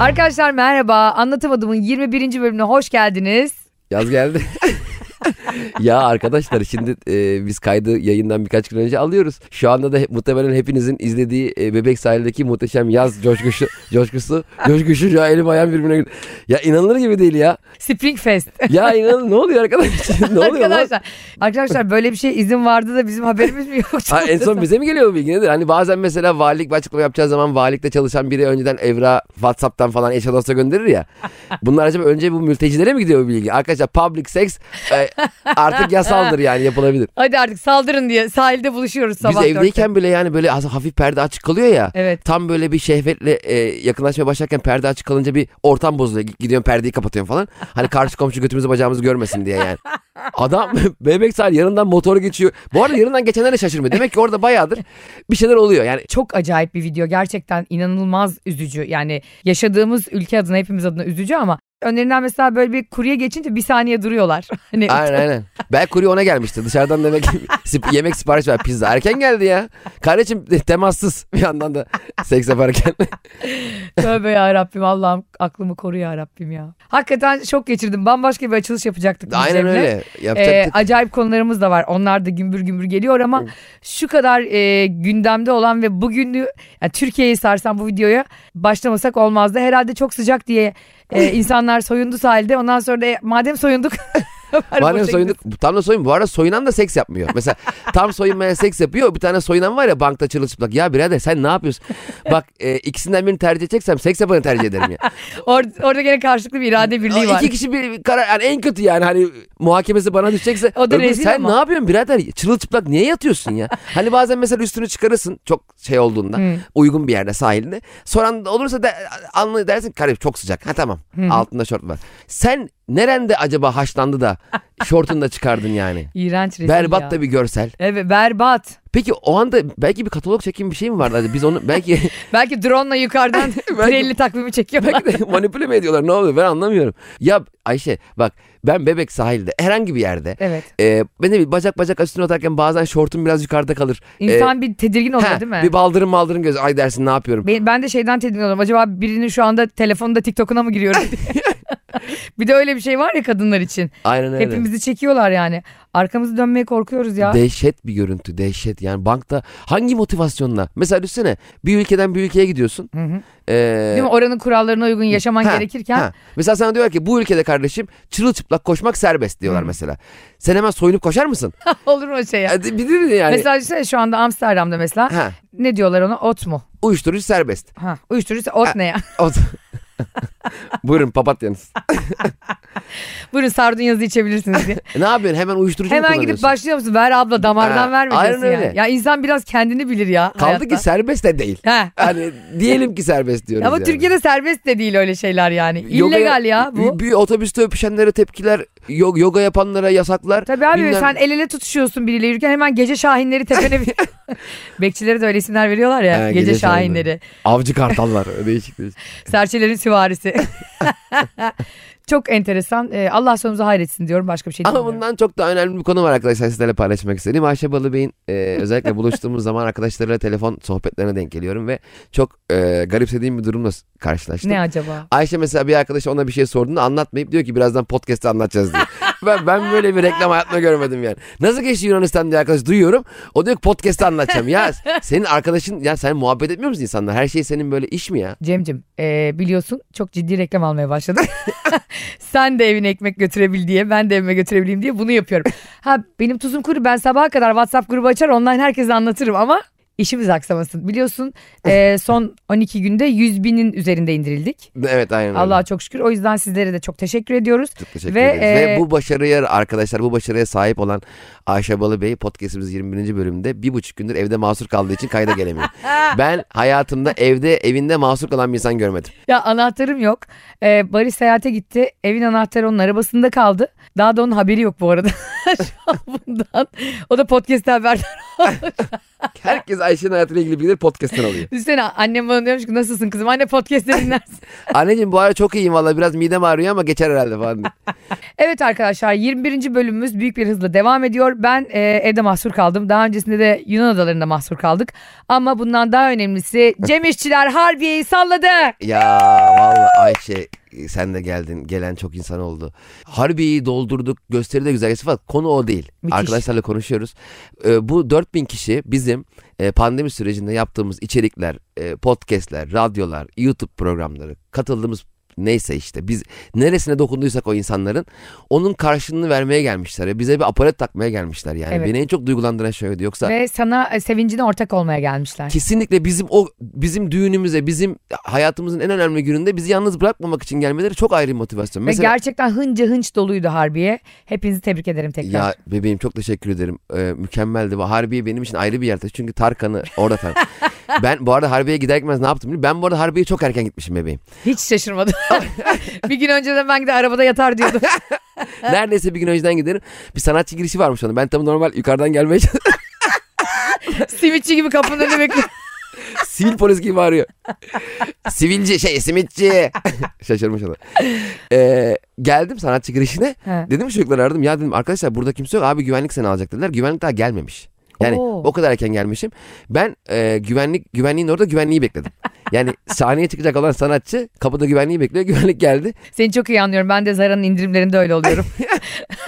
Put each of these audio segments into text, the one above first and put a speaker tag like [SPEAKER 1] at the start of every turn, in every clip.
[SPEAKER 1] Arkadaşlar merhaba. Anlatamadığımın 21. bölümüne hoş geldiniz.
[SPEAKER 2] Yaz geldi. ya arkadaşlar şimdi e, biz kaydı yayından birkaç gün önce alıyoruz. Şu anda da he- muhtemelen hepinizin izlediği e, Bebek Sahil'deki muhteşem yaz coşkusu, coşkusu, coşkusu şu an elim ayağım birbirine girdi. Ya inanılır gibi değil ya.
[SPEAKER 1] Spring Fest.
[SPEAKER 2] Ya inan ne oluyor arkadaş? ne oluyor lan?
[SPEAKER 1] arkadaşlar, arkadaşlar böyle bir şey izin vardı da bizim haberimiz mi yok?
[SPEAKER 2] Ha, en son bize mi geliyor bu bilgi nedir? Hani bazen mesela valilik bir açıklama yapacağı zaman valilikte çalışan biri önceden evra Whatsapp'tan falan eşe gönderir ya. Bunlar acaba önce bu mültecilere mi gidiyor bu bilgi? Arkadaşlar public sex e, artık yasaldır yani yapılabilir.
[SPEAKER 1] Hadi artık saldırın diye sahilde buluşuyoruz sabah
[SPEAKER 2] Biz
[SPEAKER 1] dörtte.
[SPEAKER 2] evdeyken bile yani böyle az- hafif perde açık kalıyor ya.
[SPEAKER 1] Evet.
[SPEAKER 2] Tam böyle bir şehvetle e, yakınlaşmaya başlarken perde açık kalınca bir ortam bozuluyor. G- Gidiyorsun perdeyi kapatıyorsun falan. Hani karşı komşu götümüzü bacağımızı görmesin diye yani. Adam bebek sahil yanından motoru geçiyor. Bu arada yanından geçenlere şaşırmıyor. Demek ki orada bayağıdır bir şeyler oluyor. Yani
[SPEAKER 1] Çok acayip bir video. Gerçekten inanılmaz üzücü. Yani yaşadığımız ülke adına hepimiz adına üzücü ama önlerinden mesela böyle bir kurye geçince bir saniye duruyorlar. Hani
[SPEAKER 2] aynen aynen. Belki kurye ona gelmişti. Dışarıdan demek sip- yemek sipariş ver pizza. Erken geldi ya. Kardeşim e, temassız bir yandan da seks yaparken.
[SPEAKER 1] tövbe ya Rabbim Allah'ım aklımı koru ya Rabbim ya. Hakikaten şok geçirdim. Bambaşka bir açılış yapacaktık. biz
[SPEAKER 2] aynen
[SPEAKER 1] Cem'le.
[SPEAKER 2] öyle. şey Yapacaktık.
[SPEAKER 1] Ee, acayip konularımız da var. Onlar da gümbür gümbür geliyor ama şu kadar e, gündemde olan ve bugünü yani Türkiye'yi sarsan bu videoya başlamasak olmazdı. Herhalde çok sıcak diye e, insanlar soyundu sahilde. Ondan sonra da e, madem soyunduk bari
[SPEAKER 2] Var
[SPEAKER 1] boşa
[SPEAKER 2] ya soyunduk. Tam da soyun. Bu arada soyunan da seks yapmıyor. Mesela tam soyunmaya seks yapıyor. Bir tane soyunan var ya bankta çırılçıplak. Ya birader sen ne yapıyorsun? Bak e, ikisinden birini tercih edeceksem seks yapanı tercih ederim ya.
[SPEAKER 1] gidelim. Or- orada gene karşılıklı bir irade birliği var.
[SPEAKER 2] İki kişi bir karar. Yani en kötü yani hani muhakemesi bana düşecekse.
[SPEAKER 1] O da
[SPEAKER 2] öbürü,
[SPEAKER 1] rezil
[SPEAKER 2] sen
[SPEAKER 1] ama.
[SPEAKER 2] ne yapıyorsun birader? Çırılçıplak niye yatıyorsun ya? Hani bazen mesela üstünü çıkarırsın çok şey olduğunda.
[SPEAKER 1] Hı.
[SPEAKER 2] Uygun bir yerde sahilde. Soran da olursa de, anlı dersin kardeşim çok sıcak. Ha tamam.
[SPEAKER 1] Hmm.
[SPEAKER 2] Altında şort var. Sen nerende acaba haşlandı da şortunu da çıkardın yani?
[SPEAKER 1] İğrenç rezil
[SPEAKER 2] Berbat
[SPEAKER 1] ya.
[SPEAKER 2] da bir görsel.
[SPEAKER 1] Evet berbat.
[SPEAKER 2] Peki o anda belki bir katalog çekim bir şey mi vardı? Hadi Biz onu belki
[SPEAKER 1] Belki drone'la yukarıdan trelli takvimi çekiyorlar.
[SPEAKER 2] belki de manipüle mi ediyorlar? Ne oluyor? Ben anlamıyorum. Ya Ayşe bak ben bebek sahilde herhangi bir yerde
[SPEAKER 1] Evet.
[SPEAKER 2] e, ben de bir bacak bacak üstüne atarken bazen şortum biraz yukarıda kalır. E,
[SPEAKER 1] İnsan bir tedirgin oluyor
[SPEAKER 2] he,
[SPEAKER 1] değil mi?
[SPEAKER 2] Bir baldırım baldırım göz. Ay dersin ne yapıyorum?
[SPEAKER 1] Ben, ben de şeyden tedirgin oluyorum. Acaba birinin şu anda telefonunda TikTok'una mı giriyorum diye. bir de öyle bir şey var ya kadınlar için.
[SPEAKER 2] Aynen öyle.
[SPEAKER 1] Hepimizi çekiyorlar yani. Arkamızı dönmeye korkuyoruz ya.
[SPEAKER 2] Dehşet bir görüntü dehşet yani bankta hangi motivasyonla mesela düşünsene bir ülkeden bir ülkeye gidiyorsun
[SPEAKER 1] Hı hı.
[SPEAKER 2] Ee,
[SPEAKER 1] Değil mi? Oranın kurallarına uygun yaşaman
[SPEAKER 2] Ha,
[SPEAKER 1] gerekirken
[SPEAKER 2] ha. Mesela sana diyorlar ki bu ülkede kardeşim çırılçıplak koşmak serbest diyorlar
[SPEAKER 1] Hı.
[SPEAKER 2] mesela. Sen hemen soyunup koşar mısın?
[SPEAKER 1] olur mu o şey Hmm. ya?
[SPEAKER 2] Hadi bilir mi yani?
[SPEAKER 1] Mesela düşünsene şu anda Amsterdam'da mesela
[SPEAKER 2] Ha,
[SPEAKER 1] ne diyorlar ona? Ot mu?
[SPEAKER 2] uyuşturucu serbest.
[SPEAKER 1] Ha. Uyuşturucu ot ne ya?
[SPEAKER 2] O- Buyurun papatyanız.
[SPEAKER 1] Buyurun sardunyanızı içebilirsiniz diye.
[SPEAKER 2] E, ne yapıyorsun? Hemen uyuşturucu mu
[SPEAKER 1] Hemen gidip
[SPEAKER 2] kullanıyorsun?
[SPEAKER 1] başlıyor musun? Ver abla damardan
[SPEAKER 2] Ha,
[SPEAKER 1] verme
[SPEAKER 2] aynen
[SPEAKER 1] diyorsun yani.
[SPEAKER 2] öyle.
[SPEAKER 1] Ya insan biraz kendini bilir ya
[SPEAKER 2] Kaldı ki serbest de değil.
[SPEAKER 1] Ha.
[SPEAKER 2] Hani diyelim ki serbest diyoruz
[SPEAKER 1] Ama
[SPEAKER 2] yani.
[SPEAKER 1] Türkiye'de serbest de değil öyle şeyler yani.
[SPEAKER 2] Yoga-
[SPEAKER 1] İllegal ya bu.
[SPEAKER 2] Bir, bir otobüste öpüşenlere tepkiler, yo- yoga yapanlara yasaklar.
[SPEAKER 1] Tabii abi
[SPEAKER 2] Bilmem-
[SPEAKER 1] sen el ele tutuşuyorsun biriyle yürürken hemen gece şahinleri tepene Bekçilere de öyle isimler veriyorlar ya.
[SPEAKER 2] Ha,
[SPEAKER 1] gece,
[SPEAKER 2] gece şahinleri.
[SPEAKER 1] şahinleri.
[SPEAKER 2] Avcı kartallar. değişik değişik.
[SPEAKER 1] Serçelerin süvarisi. Çok enteresan. Ee, Allah sonumuzu hayretsin diyorum. Başka bir şey
[SPEAKER 2] Ama
[SPEAKER 1] demiyorum.
[SPEAKER 2] bundan çok daha önemli bir konu var arkadaşlar sizlerle paylaşmak istediğim. Ayşe Balıbey'in e, özellikle buluştuğumuz zaman arkadaşlarıyla telefon sohbetlerine denk geliyorum ve çok e, garipsediğim bir durumla s- karşılaştım.
[SPEAKER 1] Ne acaba?
[SPEAKER 2] Ayşe mesela bir arkadaşı ona bir şey sorduğunda anlatmayıp diyor ki birazdan podcast'te anlatacağız diyor. ben, ben böyle bir reklam hayatımda görmedim yani. Nasıl geçti Yunanistan diye arkadaş duyuyorum. O diyor ki podcast'te anlatacağım. ya senin arkadaşın ya sen muhabbet etmiyor musun insanlar? Her şey senin böyle iş mi ya?
[SPEAKER 1] Cemcim ee, biliyorsun çok ciddi reklam almaya başladım. Sen de evine ekmek götürebil diye ben de evime götürebileyim diye bunu yapıyorum. Ha benim tuzum kuru ben sabaha kadar WhatsApp grubu açar online herkese anlatırım ama işimiz aksamasın. Biliyorsun ee, son 12 günde 100 binin üzerinde indirildik.
[SPEAKER 2] Evet aynen öyle.
[SPEAKER 1] Allah'a çok şükür. O yüzden sizlere de çok teşekkür ediyoruz.
[SPEAKER 2] Çok teşekkür
[SPEAKER 1] Ve,
[SPEAKER 2] ederiz.
[SPEAKER 1] e,
[SPEAKER 2] Ve bu başarıya arkadaşlar bu başarıya sahip olan Ayşe Balıbey podcastimiz 21. bölümde bir buçuk gündür evde mahsur kaldığı için kayda gelemiyor. ben hayatımda evde evinde mahsur kalan bir insan görmedim.
[SPEAKER 1] Ya anahtarım yok. Ee, Barış seyahate gitti. Evin anahtarı onun arabasında kaldı. Daha da onun haberi yok bu arada. Şu an bundan. O da podcast haberdar olmuş.
[SPEAKER 2] Herkes Ayşe'nin hayatıyla ilgili bilgileri podcast'ten alıyor.
[SPEAKER 1] Düşünsene annem bana diyormuş ki nasılsın kızım anne podcast dinlersin.
[SPEAKER 2] Anneciğim bu ara çok iyiyim valla biraz midem ağrıyor ama geçer herhalde falan. diye.
[SPEAKER 1] evet arkadaşlar 21. bölümümüz büyük bir hızla devam ediyor. Ben e, evde mahsur kaldım. Daha öncesinde de Yunan adalarında mahsur kaldık. Ama bundan daha önemlisi Cem İşçiler Harbiye'yi salladı.
[SPEAKER 2] ya valla Ayşe e, sen de geldin. Gelen çok insan oldu. Harbiye'yi doldurduk. Gösteri de güzel. Fakat konu o değil.
[SPEAKER 1] Müthiş.
[SPEAKER 2] Arkadaşlarla konuşuyoruz. Ee, bu 4000 kişi bizim e, pandemi sürecinde yaptığımız içerikler, e, podcastler, radyolar, YouTube programları, katıldığımız neyse işte biz neresine dokunduysak o insanların onun karşılığını vermeye gelmişler. ya. Bize bir aparat takmaya gelmişler yani.
[SPEAKER 1] Evet.
[SPEAKER 2] Beni en çok duygulandıran şey oydu. Yoksa
[SPEAKER 1] Ve sana e, sevincine ortak olmaya gelmişler.
[SPEAKER 2] Kesinlikle bizim o bizim düğünümüze, bizim hayatımızın en önemli gününde bizi yalnız bırakmamak için gelmeleri çok ayrı bir motivasyon.
[SPEAKER 1] Ve gerçekten hınca hınç doluydu Harbiye. Hepinizi tebrik ederim tekrar.
[SPEAKER 2] ya bebeğim çok teşekkür ederim. Ee, mükemmeldi. Bu Harbiye benim için ayrı bir yerde. Çünkü Tarkan'ı orada tanıdım. ben bu arada Harbiye'ye gider gitmez ne yaptım? biliyor musun? Ben bu arada Harbiye'ye çok erken gitmişim bebeğim.
[SPEAKER 1] Hiç şaşırmadım. bir gün önceden ben de arabada yatar diyordum.
[SPEAKER 2] Neredeyse bir gün önceden giderim. Bir sanatçı girişi varmış onun. Ben tabii normal yukarıdan gelmeye çalışıyorum.
[SPEAKER 1] Simitçi gibi kapının önünde bekliyorum.
[SPEAKER 2] Sivil polis gibi bağırıyor. Sivilci şey simitçi. Şaşırmış ona. Ee, geldim sanatçı girişine.
[SPEAKER 1] He.
[SPEAKER 2] Dedim çocuklara aradım ya dedim arkadaşlar burada kimse yok abi güvenlik seni alacak dediler. Güvenlik daha gelmemiş. Yani
[SPEAKER 1] Oo.
[SPEAKER 2] o kadar erken gelmişim. Ben e, güvenlik güvenliğin orada güvenliği bekledim. Yani sahneye çıkacak olan sanatçı kapıda güvenliği bekliyor. Güvenlik geldi.
[SPEAKER 1] Seni çok iyi anlıyorum. Ben de Zara'nın indirimlerinde öyle oluyorum.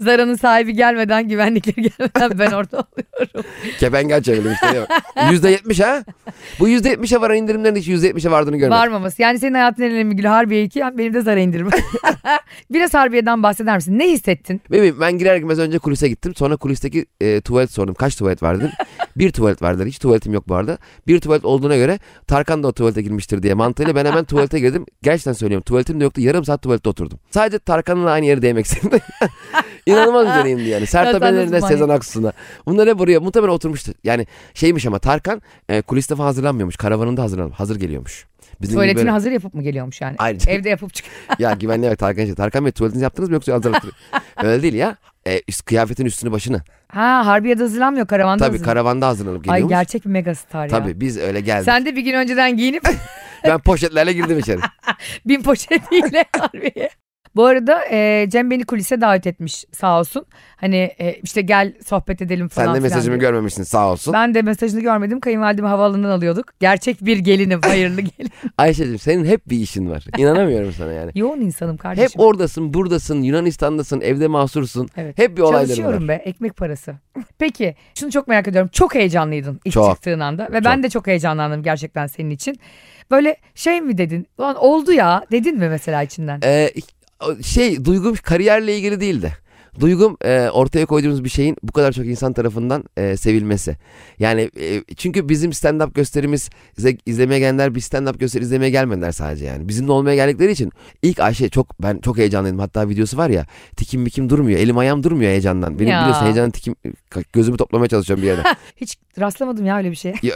[SPEAKER 1] Zara'nın sahibi gelmeden, güvenlikleri gelmeden ben orada oluyorum.
[SPEAKER 2] Kepengen çevirdim işte. Yüzde yetmiş ha. Bu yüzde yetmişe varan indirimlerin hiç yüzde yetmişe vardığını görmedim.
[SPEAKER 1] Varmaması. Yani senin hayatın en önemli gülü Harbiye 2, benim de Zara indirimi. Biraz Harbiye'den bahseder misin? Ne hissettin?
[SPEAKER 2] Bebeğim ben girer girmez önce kulise gittim. Sonra kulisteki e, tuvalet sordum. Kaç tuvalet vardır? bir tuvalet vardır. Hiç tuvaletim yok bu arada. Bir tuvalet olduğuna göre Tarkan da o tuvalete girmiştir diye mantığıyla ben hemen tuvalete girdim. Gerçekten söylüyorum tuvaletim de yoktu. Yarım saat tuvalette oturdum. Sadece Tarkan'la aynı yere değmek istedim. İnanılmaz bir deneyimdi yani. Sertab
[SPEAKER 1] Tarkan'ın
[SPEAKER 2] Erener'ine
[SPEAKER 1] manyak.
[SPEAKER 2] Sezen Aksu'na. Bunlar hep buraya muhtemelen oturmuştu. Yani şeymiş ama Tarkan e, kuliste falan hazırlanmıyormuş. Karavanında hazırlanmış. Hazır geliyormuş. Bizim gibi
[SPEAKER 1] Tuvaletini
[SPEAKER 2] böyle-
[SPEAKER 1] hazır yapıp mı geliyormuş yani?
[SPEAKER 2] Ayrıca-
[SPEAKER 1] Evde yapıp çık.
[SPEAKER 2] ya güvenliğe bak Tarkan şey. Tarkan Bey tuvaletinizi yaptınız mı yoksa hazırlattınız mı? Öyle değil ya. E, üst- kıyafetin üstünü başını.
[SPEAKER 1] Ha Harbiye'de hazırlanmıyor karavanda
[SPEAKER 2] Tabii
[SPEAKER 1] hazırlan-
[SPEAKER 2] karavanda hazırlanıp
[SPEAKER 1] Ay
[SPEAKER 2] geliyormuş.
[SPEAKER 1] gerçek bir megastar ya.
[SPEAKER 2] Tabii biz öyle geldik.
[SPEAKER 1] Sen de bir gün önceden giyinip
[SPEAKER 2] Ben poşetlerle girdim içeri.
[SPEAKER 1] bin poşetiyle harbiye. Bu arada e, Cem beni kulise davet etmiş sağ olsun. Hani e, işte gel sohbet edelim falan
[SPEAKER 2] Sen de
[SPEAKER 1] filan
[SPEAKER 2] mesajımı
[SPEAKER 1] diye.
[SPEAKER 2] görmemişsin sağ olsun.
[SPEAKER 1] Ben de mesajını görmedim. Kayınvalidemi havaalanından alıyorduk. Gerçek bir gelinim. Hayırlı gelin.
[SPEAKER 2] Ayşe'cim senin hep bir işin var. İnanamıyorum sana yani.
[SPEAKER 1] Yoğun insanım kardeşim.
[SPEAKER 2] Hep oradasın, buradasın, Yunanistan'dasın, evde mahsursun.
[SPEAKER 1] Evet.
[SPEAKER 2] Hep bir olayların var.
[SPEAKER 1] Çalışıyorum be. Ekmek parası. Peki şunu çok merak ediyorum. Çok heyecanlıydın ilk
[SPEAKER 2] Çok.
[SPEAKER 1] çıktığın anda. Ve ben de çok heyecanlandım gerçekten senin için. Böyle şey mi dedin? Ulan oldu ya dedin mi mesela içinden?
[SPEAKER 2] Ee, şey duygum kariyerle ilgili değildi. Duygum e, ortaya koyduğumuz bir şeyin bu kadar çok insan tarafından e, sevilmesi. Yani e, çünkü bizim stand-up gösterimiz izle- izlemeye gelenler bir stand-up gösteri izlemeye gelmediler sadece yani. Bizimle olmaya geldikleri için ilk Ayşe çok ben çok heyecanlıydım. Hatta videosu var ya tikim bikim durmuyor. Elim ayağım durmuyor heyecandan. Benim
[SPEAKER 1] Ya.
[SPEAKER 2] biliyorsun heyecandan tikim gözümü toplamaya çalışıyorum bir yerden.
[SPEAKER 1] Hiç rastlamadım ya öyle bir şeye.
[SPEAKER 2] Ya-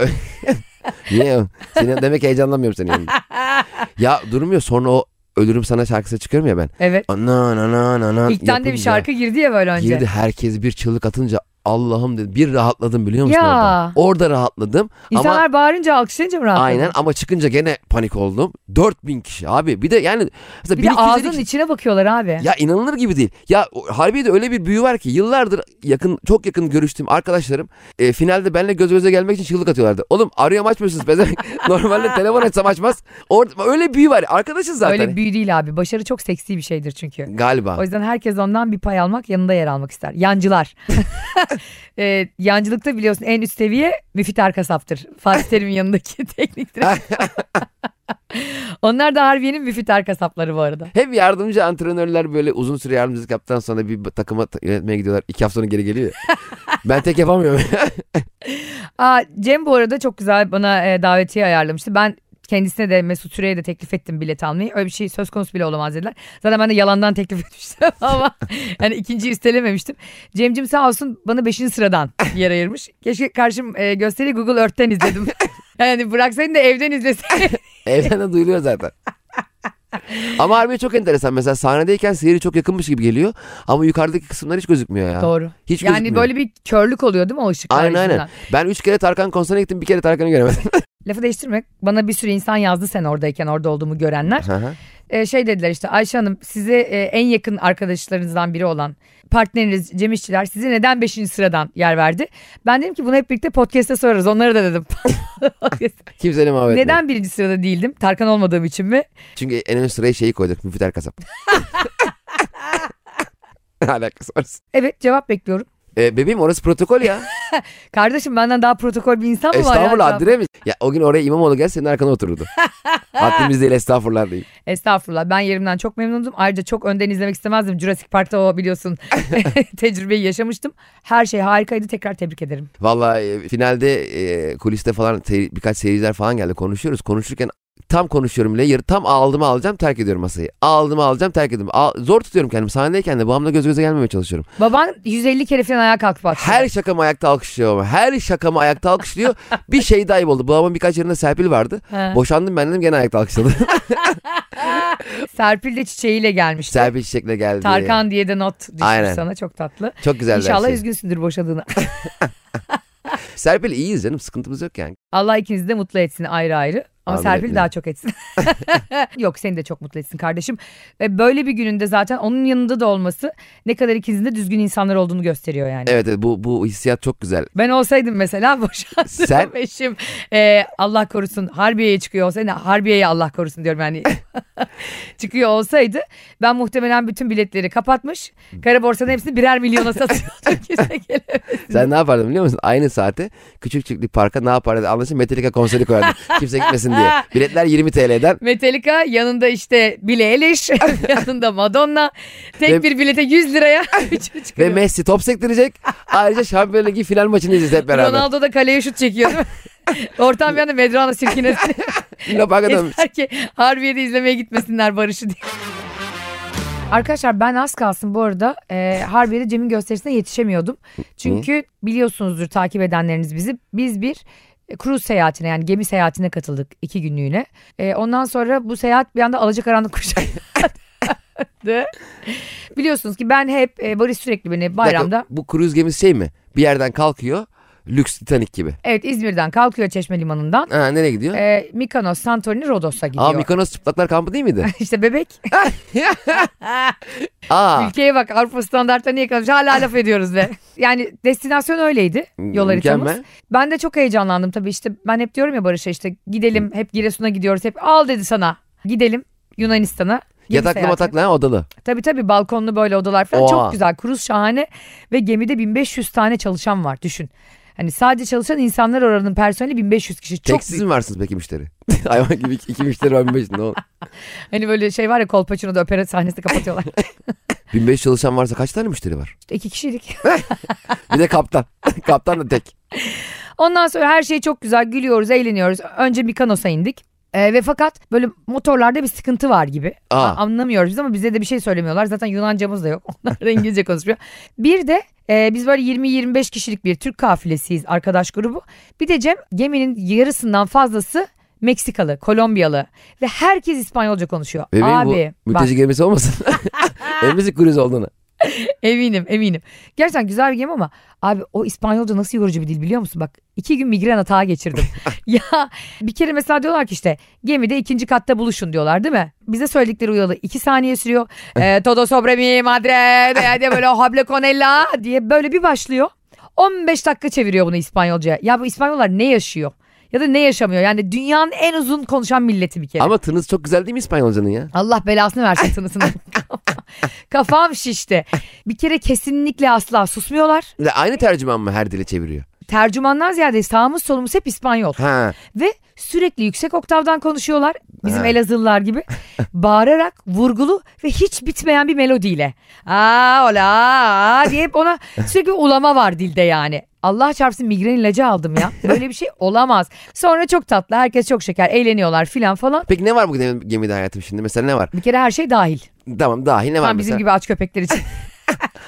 [SPEAKER 2] Niye? ya? Seni, demek heyecanlanmıyorum senin yanında. Ya durmuyor sonra o Ölürüm Sana şarkısı çıkıyorum ya ben.
[SPEAKER 1] Evet.
[SPEAKER 2] Ana na na na na
[SPEAKER 1] İlkten de bir
[SPEAKER 2] yapınca
[SPEAKER 1] şarkı girdi ya böyle önce.
[SPEAKER 2] Girdi herkes bir çığlık atınca Allah'ım dedim. Bir rahatladım biliyor musun
[SPEAKER 1] Ya.
[SPEAKER 2] orada? Orada rahatladım.
[SPEAKER 1] İnsanlar
[SPEAKER 2] ama
[SPEAKER 1] bağırınca alkışlayınca mı rahatladın?
[SPEAKER 2] aynen ama çıkınca gene panik oldum. 4000 kişi abi. Bir de yani mesela
[SPEAKER 1] Bir de
[SPEAKER 2] 1250
[SPEAKER 1] ağzının içine bakıyorlar abi.
[SPEAKER 2] ya inanılır gibi değil. Ya o- harbiyede öyle bir büyü var ki yıllardır yakın çok yakın görüştüğüm arkadaşlarım e, finalde benimle göz göze gelmek için çığlık atıyorlardı. Oğlum arıyorum açmıyorsunuz pezevenk. Normalde telefon açsam açmaz. Orada, öyle büyü var. Arkadaşız zaten.
[SPEAKER 1] Öyle büyü değil abi. Başarı çok seksi bir şeydir çünkü.
[SPEAKER 2] Galiba.
[SPEAKER 1] O yüzden herkes ondan bir pay almak, yanında yer almak ister. Yancılar. Ee, yancılıkta biliyorsun en üst seviye Müfit Erkasap'tır. Fatih Terim'in yanındaki teknik direktör. Onlar da Harbiye'nin Müfit Erkasapları bu arada.
[SPEAKER 2] Hep yardımcı antrenörler böyle uzun süre yardımcılık yaptıktan sonra bir takıma ta- yönetmeye gidiyorlar. İki hafta sonra geri geliyor. ya. ben tek yapamıyorum.
[SPEAKER 1] Aa, Cem bu arada çok güzel bana e, davetiye ayarlamıştı. Ben kendisine de Mesut Süre'ye de teklif ettim bilet almayı. Öyle bir şey söz konusu bile olamaz dediler. Zaten ben de yalandan teklif etmiştim ama yani ikinci istelememiştim. Cem'cim sağ olsun bana beşinci sıradan yer ayırmış. Keşke karşım e, gösteri Google Earth'ten izledim. Yani bıraksaydın da evden izleseydin.
[SPEAKER 2] Evden de duyuluyor zaten. Ama harbi çok enteresan. Mesela sahnedeyken seyri çok yakınmış gibi geliyor. Ama yukarıdaki kısımlar hiç gözükmüyor ya.
[SPEAKER 1] Doğru.
[SPEAKER 2] Hiç
[SPEAKER 1] yani
[SPEAKER 2] gözükmüyor.
[SPEAKER 1] böyle bir körlük oluyor değil mi o ışıklar
[SPEAKER 2] Aynen
[SPEAKER 1] yüzünden?
[SPEAKER 2] aynen. Ben üç kere Tarkan konserine gittim. Bir kere Tarkan'ı göremedim.
[SPEAKER 1] Lafı değiştirmek. Bana bir sürü insan yazdı sen oradayken orada olduğumu görenler.
[SPEAKER 2] Hı hı.
[SPEAKER 1] Ee, şey dediler işte Ayşe Hanım size e, en yakın arkadaşlarınızdan biri olan partneriniz Cem İşçiler sizi neden 5. sıradan yer verdi? Ben dedim ki bunu hep birlikte podcast'te sorarız onlara da dedim.
[SPEAKER 2] Kimseyle muhabbet etmedim.
[SPEAKER 1] neden birinci sırada değildim? Tarkan olmadığım için mi?
[SPEAKER 2] Çünkü en ön sıraya şeyi koyduk. Müfiter Kasap. Ne alakası var?
[SPEAKER 1] Evet cevap bekliyorum.
[SPEAKER 2] Ee, bebeğim orası protokol ya.
[SPEAKER 1] Kardeşim benden daha protokol bir insan mı var? ya?
[SPEAKER 2] Estağfurullah Adile mi? Ya o gün oraya İmamoğlu gel senin arkana otururdu. Haddimiz değil estağfurullah değil.
[SPEAKER 1] Estağfurullah ben yerimden çok memnundum. Ayrıca çok önden izlemek istemezdim. Jurassic Park'ta o biliyorsun tecrübeyi yaşamıştım. Her şey harikaydı tekrar tebrik ederim.
[SPEAKER 2] Vallahi e, finalde e, kuliste falan seyir- birkaç seyirciler falan geldi konuşuyoruz. Konuşurken tam konuşuyorum bile yarı tam aldığımı alacağım terk ediyorum masayı. Aldığımı alacağım terk ediyorum. Al- zor tutuyorum kendimi sahnedeyken de babamla göz göze gelmemeye çalışıyorum.
[SPEAKER 1] Baban 150 kere falan ayağa kalkıp attı.
[SPEAKER 2] Her şakamı ayakta alkışlıyor ama her şakamı ayakta alkışlıyor. bir şey daha iyi oldu. Babamın birkaç yerinde serpil vardı.
[SPEAKER 1] He.
[SPEAKER 2] Boşandım ben dedim gene ayakta alkışladı. şey-
[SPEAKER 1] Serpil de çiçeğiyle gelmişti.
[SPEAKER 2] serpil çiçekle geldi.
[SPEAKER 1] Tarkan diye de not düşmüş
[SPEAKER 2] Aynen.
[SPEAKER 1] sana çok tatlı.
[SPEAKER 2] Çok güzel
[SPEAKER 1] İnşallah
[SPEAKER 2] İnşallah
[SPEAKER 1] üzgünsündür boşadığına.
[SPEAKER 2] Serpil iyiyiz canım sıkıntımız yok yani.
[SPEAKER 1] Allah ikinizi de mutlu etsin ayrı ayrı. Ama
[SPEAKER 2] Amin
[SPEAKER 1] Serpil
[SPEAKER 2] hepiniz.
[SPEAKER 1] daha çok etsin. Yok seni de çok mutlu etsin kardeşim. Ve böyle bir gününde zaten onun yanında da olması ne kadar ikinizin de düzgün insanlar olduğunu gösteriyor yani.
[SPEAKER 2] Evet evet, bu, bu hissiyat çok güzel.
[SPEAKER 1] Ben olsaydım mesela boşandığım
[SPEAKER 2] Sen-
[SPEAKER 1] eşim e, Allah korusun Harbiye'ye çıkıyor olsaydı Harbiye'ye Allah korusun diyorum yani çıkıyor olsaydı ben muhtemelen bütün biletleri kapatmış kara borsanın hepsini birer milyona satıyordum kimse gelemez.
[SPEAKER 2] Sen ne yapardın biliyor musun? Aynı saate Küçükçüklük Park'a ne yapardın? Anlaşın Metallica konseri koyardın. Kimse gitmesin diye. Biletler 20 TL'den.
[SPEAKER 1] Metallica yanında işte Billie Eilish yanında Madonna tek
[SPEAKER 2] Ve-
[SPEAKER 1] bir bilete 100 liraya üçü
[SPEAKER 2] Ve
[SPEAKER 1] çıkıyor.
[SPEAKER 2] Messi top sektirecek. Ayrıca Şampiyonlar Ligi final maçını izleyeceğiz hep beraber.
[SPEAKER 1] Ronaldo da kaleye şut çekiyor değil mi? Ortam bir anda Medrana sirkine
[SPEAKER 2] Luna Park'a dönmüş.
[SPEAKER 1] Yeter ki Harbiye'de izlemeye gitmesinler Barış'ı diye. Arkadaşlar ben az kalsın bu arada e, Harbiye'de Cem'in gösterisine yetişemiyordum. Çünkü biliyorsunuzdur takip edenleriniz bizi. Biz bir e, cruise seyahatine yani gemi seyahatine katıldık iki günlüğüne. E, ondan sonra bu seyahat bir anda alacakaranlık kuşağı. Biliyorsunuz ki ben hep e, Barış sürekli beni
[SPEAKER 2] Bir dakika,
[SPEAKER 1] bayramda
[SPEAKER 2] Bu kruz gemisi şey mi? Bir yerden kalkıyor. Lüks Titanic gibi.
[SPEAKER 1] evet İzmir'den kalkıyor Çeşme Limanı'ndan.
[SPEAKER 2] Ha, nereye gidiyor?
[SPEAKER 1] E, Mikonos, Santorini, Rodos'a gidiyor.
[SPEAKER 2] Aa Mikonos çıplaklar kampı değil miydi?
[SPEAKER 1] işte bebek.
[SPEAKER 2] Aa.
[SPEAKER 1] Ülkeye bak Avrupa standartlarını niye kalmış? Hala laf ediyoruz be. Yani destinasyon öyleydi yol haritamız.
[SPEAKER 2] mükemmel.
[SPEAKER 1] Ben de çok heyecanlandım tabii işte ben hep diyorum ya Barış'a işte gidelim hep Giresun'a gidiyoruz hep al dedi sana gidelim Yunanistan'a. Gemi
[SPEAKER 2] Yataklı
[SPEAKER 1] seyahati.
[SPEAKER 2] mataklı ha, odalı.
[SPEAKER 1] Tabii tabii balkonlu böyle odalar falan
[SPEAKER 2] Oha.
[SPEAKER 1] çok güzel. Kruz şahane ve gemide 1500 tane çalışan var düşün. Hani sadece çalışan insanlar oranın personeli 1500 kişi. Çok
[SPEAKER 2] Tek siz mi varsınız peki müşteri? Hayvan gibi iki, iki müşteri var 1500. Ne oldu?
[SPEAKER 1] Hani böyle şey var ya Kolpaçino'da opera sahnesini kapatıyorlar.
[SPEAKER 2] 1500 çalışan varsa kaç tane müşteri var?
[SPEAKER 1] işte iki kişilik.
[SPEAKER 2] Bir de kaptan. kaptan da tek.
[SPEAKER 1] Ondan sonra her şey çok güzel gülüyoruz eğleniyoruz. Önce Mikonos'a indik. Ee, ve fakat böyle motorlarda bir sıkıntı var gibi.
[SPEAKER 2] Aa.
[SPEAKER 1] A- Anlamıyoruz biz ama bize de bir şey söylemiyorlar. Zaten Yunancamız da yok. Onlar da İngilizce konuşuyor. Bir de e, biz böyle 20-25 kişilik bir Türk kafilesiyiz arkadaş grubu. Bir de Cem geminin yarısından fazlası Meksikalı, Kolombiyalı ve herkes İspanyolca konuşuyor.
[SPEAKER 2] Bebeğim
[SPEAKER 1] Abi
[SPEAKER 2] bu
[SPEAKER 1] bak
[SPEAKER 2] mülteci gemisi olmasın? en müzik cruise olduğunu.
[SPEAKER 1] eminim eminim. Gerçekten güzel bir gemi ama abi o İspanyolca nasıl yorucu bir dil biliyor musun? Bak iki gün migren atağı geçirdim. ya bir kere mesela diyorlar ki işte gemide ikinci katta buluşun diyorlar değil mi? Bize söyledikleri uyalı iki saniye sürüyor. Ee, Todo sobre mi madre diye böyle "Oh, hable con ella diye böyle bir başlıyor. 15 dakika çeviriyor bunu İspanyolca'ya. Ya bu İspanyollar ne yaşıyor? Ya da ne yaşamıyor? Yani dünyanın en uzun konuşan milleti bir kere.
[SPEAKER 2] Ama tınız çok güzel değil mi İspanyolcanın ya?
[SPEAKER 1] Allah belasını versin tınısını. Kafam şişti. Bir kere kesinlikle asla susmuyorlar.
[SPEAKER 2] Ve Aynı tercüman mı her dile çeviriyor?
[SPEAKER 1] Tercümandan ziyade sağımız solumuz hep İspanyol.
[SPEAKER 2] Ha.
[SPEAKER 1] Ve sürekli yüksek oktavdan konuşuyorlar. Bizim
[SPEAKER 2] Ha.
[SPEAKER 1] Elazığlılar gibi. Bağırarak, vurgulu ve hiç bitmeyen bir melodiyle. Aa ola aa diye hep ona sürekli bir ulama var dilde yani. Allah çarpsın migren ilacı aldım ya. Böyle bir şey olamaz. Sonra çok tatlı. Herkes çok şeker. Eğleniyorlar filan falan.
[SPEAKER 2] Peki ne var bu gemi- gemide hayatım şimdi? Mesela ne var?
[SPEAKER 1] Bir kere her şey dahil.
[SPEAKER 2] Tamam dahil ne var
[SPEAKER 1] Tam bizim
[SPEAKER 2] mesela?
[SPEAKER 1] gibi aç köpekler için.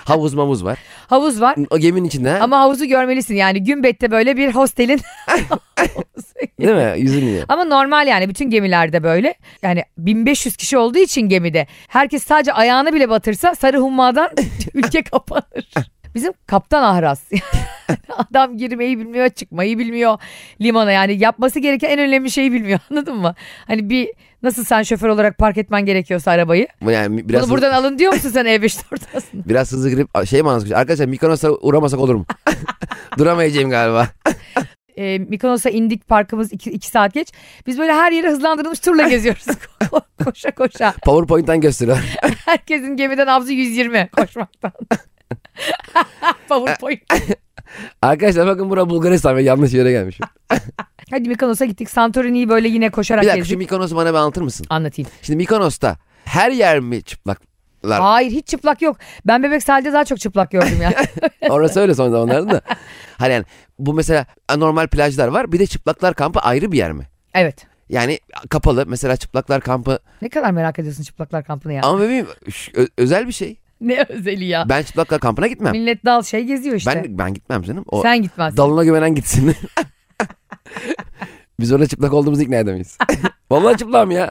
[SPEAKER 2] Havuz mamuz var.
[SPEAKER 1] Havuz var.
[SPEAKER 2] O geminin içinde ha?
[SPEAKER 1] Ama havuzu görmelisin yani Gümbet'te böyle bir hostelin.
[SPEAKER 2] değil mi? Yüzün yine.
[SPEAKER 1] Ama normal yani bütün gemilerde böyle. Yani 1500 kişi olduğu için gemide herkes sadece ayağını bile batırsa sarı hummadan ülke kapanır. Bizim kaptan ahraz. Adam girmeyi bilmiyor, çıkmayı bilmiyor limana. Yani yapması gereken en önemli şeyi bilmiyor. Anladın mı? Hani bir nasıl sen şoför olarak park etmen gerekiyorsa arabayı.
[SPEAKER 2] Yani biraz
[SPEAKER 1] Bunu buradan alın diyor musun sen E5 ortasında?
[SPEAKER 2] Biraz hızlı girip şey mi anlatmış? Arkadaşlar Mikonos'a uğramasak olur mu? Duramayacağım galiba.
[SPEAKER 1] Ee, Mikonos'a indik parkımız iki, iki saat geç. Biz böyle her yere hızlandırılmış turla geziyoruz. Ko- koşa koşa.
[SPEAKER 2] PowerPoint'ten gösteriyor.
[SPEAKER 1] Herkesin gemiden avzu 120 koşmaktan. PowerPoint.
[SPEAKER 2] Arkadaşlar bakın bura Bulgaristan ve yanlış yere gelmişim.
[SPEAKER 1] Hadi Mikonos'a gittik. Santorini'yi böyle yine koşarak
[SPEAKER 2] Bir dakika şu
[SPEAKER 1] gezdik.
[SPEAKER 2] Mikonos'u bana bir anlatır mısın?
[SPEAKER 1] Anlatayım.
[SPEAKER 2] Şimdi Mikonos'ta her yer mi çıplaklar?
[SPEAKER 1] Hayır hiç çıplak yok. Ben bebek sahilde daha çok çıplak gördüm ya.
[SPEAKER 2] Orası öyle son zamanlarda da. Hani yani bu mesela normal plajlar var. Bir de çıplaklar kampı ayrı bir yer mi?
[SPEAKER 1] evet.
[SPEAKER 2] Yani kapalı mesela çıplaklar kampı.
[SPEAKER 1] Ne kadar merak ediyorsun çıplaklar kampını ya.
[SPEAKER 2] Ama bebeğim ş- ö- özel bir şey.
[SPEAKER 1] ne özeli ya.
[SPEAKER 2] Ben çıplaklar kampına gitmem.
[SPEAKER 1] Millet dal şey geziyor işte.
[SPEAKER 2] Ben ben gitmem canım. O
[SPEAKER 1] Sen gitmezsin.
[SPEAKER 2] dalına güvenen gitsin. Biz orada çıplak olduğumuzu ikna edemeyiz. Vallahi çıplağım ya.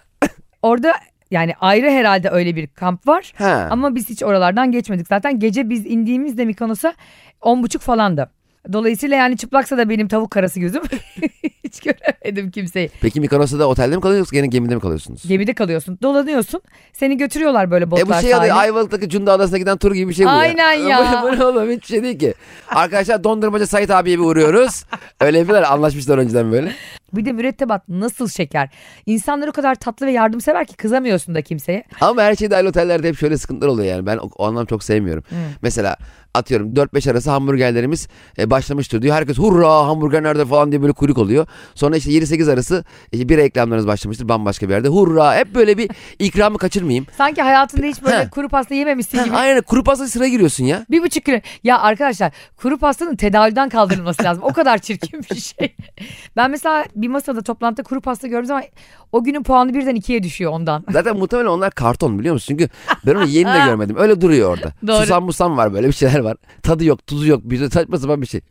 [SPEAKER 1] Orada yani ayrı herhalde öyle bir kamp var.
[SPEAKER 2] Ha.
[SPEAKER 1] Ama biz hiç oralardan geçmedik. Zaten gece biz indiğimizde Mikonos'a on buçuk falandı. Dolayısıyla yani çıplaksa da benim tavuk karası gözüm. hiç göremedim kimseyi.
[SPEAKER 2] Peki Mikonos'ta da otelde mi kalıyorsunuz gene gemide mi kalıyorsunuz?
[SPEAKER 1] Gemide kalıyorsun, dolanıyorsun. Seni götürüyorlar böyle botlar
[SPEAKER 2] E bu şey
[SPEAKER 1] sahile.
[SPEAKER 2] adı Ayvalık'taki Cunda Adası'na giden tur gibi bir şey bu
[SPEAKER 1] Aynen
[SPEAKER 2] ya.
[SPEAKER 1] ya.
[SPEAKER 2] Bu ne oğlum hiç şey değil ki. Arkadaşlar dondurmacı Sait abiye bir uğruyoruz. Öyle yapıyorlar anlaşmışlar önceden böyle.
[SPEAKER 1] Bir de mürettebat nasıl şeker. İnsanlar o kadar tatlı ve yardımsever ki kızamıyorsun da kimseye.
[SPEAKER 2] Ama her şey dahil otellerde hep şöyle sıkıntılar oluyor yani. Ben o, o anlam çok sevmiyorum. Mesela atıyorum 4-5 arası hamburgerlerimiz e, başlamıştır diyor. Herkes hurra hamburger nerede falan diye böyle kuyruk oluyor. Sonra işte 7-8 arası işte bir reklamlarınız başlamıştır bambaşka bir yerde. Hurra hep böyle bir ikramı kaçırmayayım.
[SPEAKER 1] Sanki hayatında hiç böyle
[SPEAKER 2] Ha.
[SPEAKER 1] kuru pasta yememişsin gibi.
[SPEAKER 2] Aynen kuru pasta sıra giriyorsun ya.
[SPEAKER 1] Bir buçuk kilo. Ya arkadaşlar kuru pastanın tedaviden kaldırılması lazım. O kadar çirkin bir şey. Ben mesela bir masada toplantıda kuru pasta gördüğüm zaman o günün puanı birden ikiye düşüyor ondan.
[SPEAKER 2] Zaten muhtemelen onlar karton biliyor musun? Çünkü ben onu yeni de görmedim. Öyle duruyor orada.
[SPEAKER 1] Doğru.
[SPEAKER 2] Susam musam var böyle bir şeyler var. Tadı yok, tuzu yok. Bir de saçma sapan bir şey.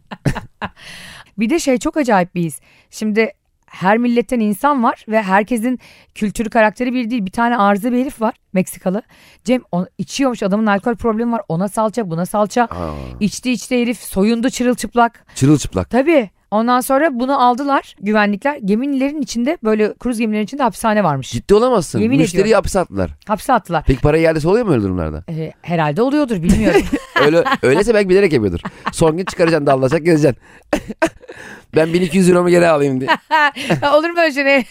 [SPEAKER 1] Bir de şey çok acayip bir his. Şimdi her milletten insan var ve herkesin kültürü karakteri bir değil. Bir tane arıza bir herif var Meksikalı. Cem o- içiyormuş adamın alkol problemi var. Ona salça buna salça.
[SPEAKER 2] Aa,
[SPEAKER 1] İçti içti herif soyundu çırılçıplak.
[SPEAKER 2] çırılçıplak.
[SPEAKER 1] Tabii. Ondan sonra bunu aldılar güvenlikler. Gemilerin içinde böyle kruz gemilerin içinde hapishane varmış.
[SPEAKER 2] Ciddi olamazsın.
[SPEAKER 1] Yemin
[SPEAKER 2] Müşteriyi
[SPEAKER 1] ediyorum.
[SPEAKER 2] hapse attılar.
[SPEAKER 1] Hapse attılar.
[SPEAKER 2] Peki para iadesi oluyor mu öyle durumlarda?
[SPEAKER 1] Ee, herhalde oluyordur bilmiyorum.
[SPEAKER 2] Öyle, öyleyse belki bilerek yapıyordur. Son gün çıkaracaksın dallayacak gezeceksin. ben 1200 euromu geri alayım diye.
[SPEAKER 1] Ha, Olur mu öyle şey? ne?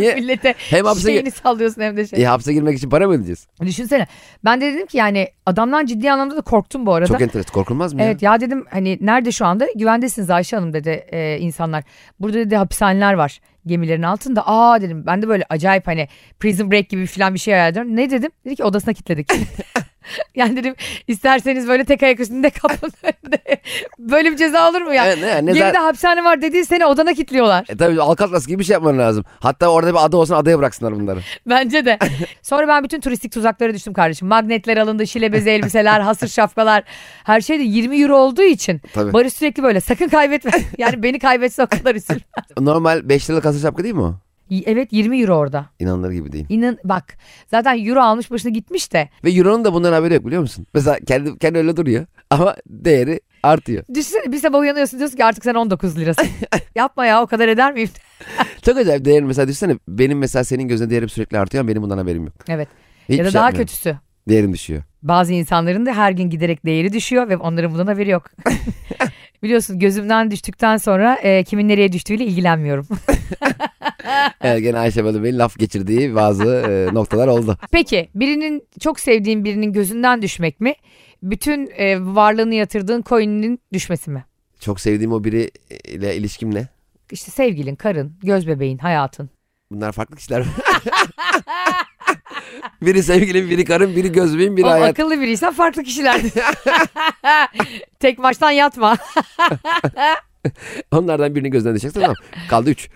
[SPEAKER 2] Niye?
[SPEAKER 1] Millete
[SPEAKER 2] Hem hapse-
[SPEAKER 1] şeyini sallıyorsun hem de şey.
[SPEAKER 2] E, hapse girmek için para mı ödeyeceğiz?
[SPEAKER 1] Düşünsene. Ben de dedim ki yani adamdan ciddi anlamda da korktum bu arada.
[SPEAKER 2] Çok enteresan. Korkulmaz mı
[SPEAKER 1] Evet ya dedim hani nerede şu anda? Güvendesiniz Ayşe Hanım dedi e, insanlar. Burada dedi hapishaneler var gemilerin altında. Aa dedim ben de böyle acayip hani prison break gibi falan bir şey hayal ediyorum. Ne dedim? Dedi ki odasına kilitledik. yani dedim isterseniz böyle tek ayak üstünde kapının önünde. böyle bir ceza olur mu
[SPEAKER 2] ya?
[SPEAKER 1] ya?
[SPEAKER 2] Evet, E, ne, ne
[SPEAKER 1] Gemide
[SPEAKER 2] zaten-
[SPEAKER 1] hapishane var dediği seni odana kilitliyorlar.
[SPEAKER 2] E, tabii Alcatraz gibi bir şey yapman lazım. Hatta orada bir ada olsun adaya bıraksınlar bunları.
[SPEAKER 1] Bence de. Sonra ben bütün turistik tuzaklara düştüm kardeşim. Magnetler alındı, şile bezi elbiseler, hasır şapkalar. Her şey de 20 euro olduğu için.
[SPEAKER 2] Tabii.
[SPEAKER 1] Barış sürekli böyle sakın kaybetme. Yani beni kaybetse o kadar üzülme.
[SPEAKER 2] Normal 5 liralık hasır şapka değil mi o?
[SPEAKER 1] Y- Evet 20 euro orada.
[SPEAKER 2] İnanılır gibi değil.
[SPEAKER 1] İnan bak zaten euro almış başına gitmiş de.
[SPEAKER 2] Ve Euro'nun da bundan haberi yok biliyor musun? Mesela kendi, kendi öyle duruyor ama değeri artıyor.
[SPEAKER 1] Düşünsene bir sabah uyanıyorsun diyorsun ki artık sen 19 lirasın. Yapma ya o kadar eder miyim?
[SPEAKER 2] Çok acayip değerini mesela düşünsene benim mesela senin gözüne değerim sürekli artıyor ama benim bundan haberim yok.
[SPEAKER 1] Evet.
[SPEAKER 2] Hiçbir
[SPEAKER 1] ya da
[SPEAKER 2] şey
[SPEAKER 1] daha
[SPEAKER 2] yapmıyorum.
[SPEAKER 1] kötüsü.
[SPEAKER 2] Değerim düşüyor.
[SPEAKER 1] Bazı insanların da her gün giderek değeri düşüyor ve onların bundan haberi yok. Biliyorsun gözümden düştükten sonra e, kimin nereye düştüğüyle ilgilenmiyorum.
[SPEAKER 2] Evet gene Ayşe Bey'in laf geçirdiği bazı e, noktalar oldu.
[SPEAKER 1] Peki birinin çok sevdiğin birinin gözünden düşmek mi? Bütün e, varlığını yatırdığın coin'inin düşmesi mi?
[SPEAKER 2] Çok sevdiğim o biriyle ilişkim ne?
[SPEAKER 1] İşte sevgilin, karın, göz bebeğin, hayatın.
[SPEAKER 2] Bunlar farklı kişiler. biri sevgilim, biri karım, biri gözümün, biri
[SPEAKER 1] O
[SPEAKER 2] hayat.
[SPEAKER 1] akıllı biriysen farklı kişiler. Tek baştan yatma.
[SPEAKER 2] Onlardan birini gözden düşeceksin tamam. Kaldı üç.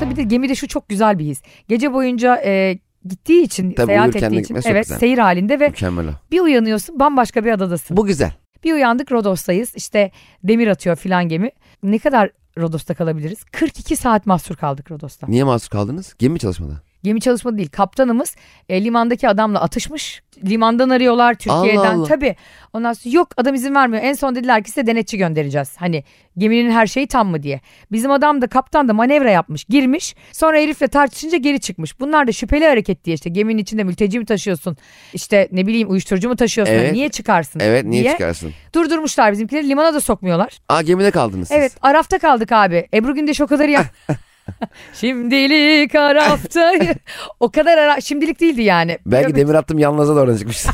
[SPEAKER 1] Tabii bir de gemide şu çok güzel bir his. Gece boyunca e, gittiği için
[SPEAKER 2] Tabii
[SPEAKER 1] seyahat
[SPEAKER 2] uyurken de
[SPEAKER 1] ettiği için
[SPEAKER 2] gitmesi çok
[SPEAKER 1] evet
[SPEAKER 2] güzel.
[SPEAKER 1] seyir halinde ve
[SPEAKER 2] Mükemmel o.
[SPEAKER 1] bir uyanıyorsun bambaşka bir adadasın.
[SPEAKER 2] Bu güzel.
[SPEAKER 1] Bir uyandık Rodos'tayız işte demir atıyor filan gemi. Ne kadar Rodos'ta kalabiliriz? 42 saat mahsur kaldık Rodos'ta.
[SPEAKER 2] Niye mahsur kaldınız? Gemi mi çalışmadı?
[SPEAKER 1] Gemi çalışma değil. Kaptanımız e, limandaki adamla atışmış. Limandan arıyorlar Türkiye'den.
[SPEAKER 2] Allah.
[SPEAKER 1] Tabii. Ondan sonra yok adam izin vermiyor. En son dediler ki size denetçi göndereceğiz. Hani geminin her şeyi tam mı diye. Bizim adam da kaptan da manevra yapmış. Girmiş. Sonra herifle tartışınca geri çıkmış. Bunlar da şüpheli hareket diye işte geminin içinde mülteci mi taşıyorsun? İşte ne bileyim uyuşturucu mu taşıyorsun? Hani
[SPEAKER 2] Evet.
[SPEAKER 1] Niye çıkarsın?
[SPEAKER 2] Evet niye
[SPEAKER 1] diye.
[SPEAKER 2] çıkarsın?
[SPEAKER 1] Durdurmuşlar bizimkileri. Limana da sokmuyorlar.
[SPEAKER 2] Aa gemide kaldınız siz.
[SPEAKER 1] Evet Araf'ta kaldık abi. Ebru Gündeş o kadar ya. Şimdilik Araf'ta. o kadar ara... Şimdilik değildi yani.
[SPEAKER 2] Belki
[SPEAKER 1] Tabii.
[SPEAKER 2] demir attım yalnızca da oradan çıkmışsın.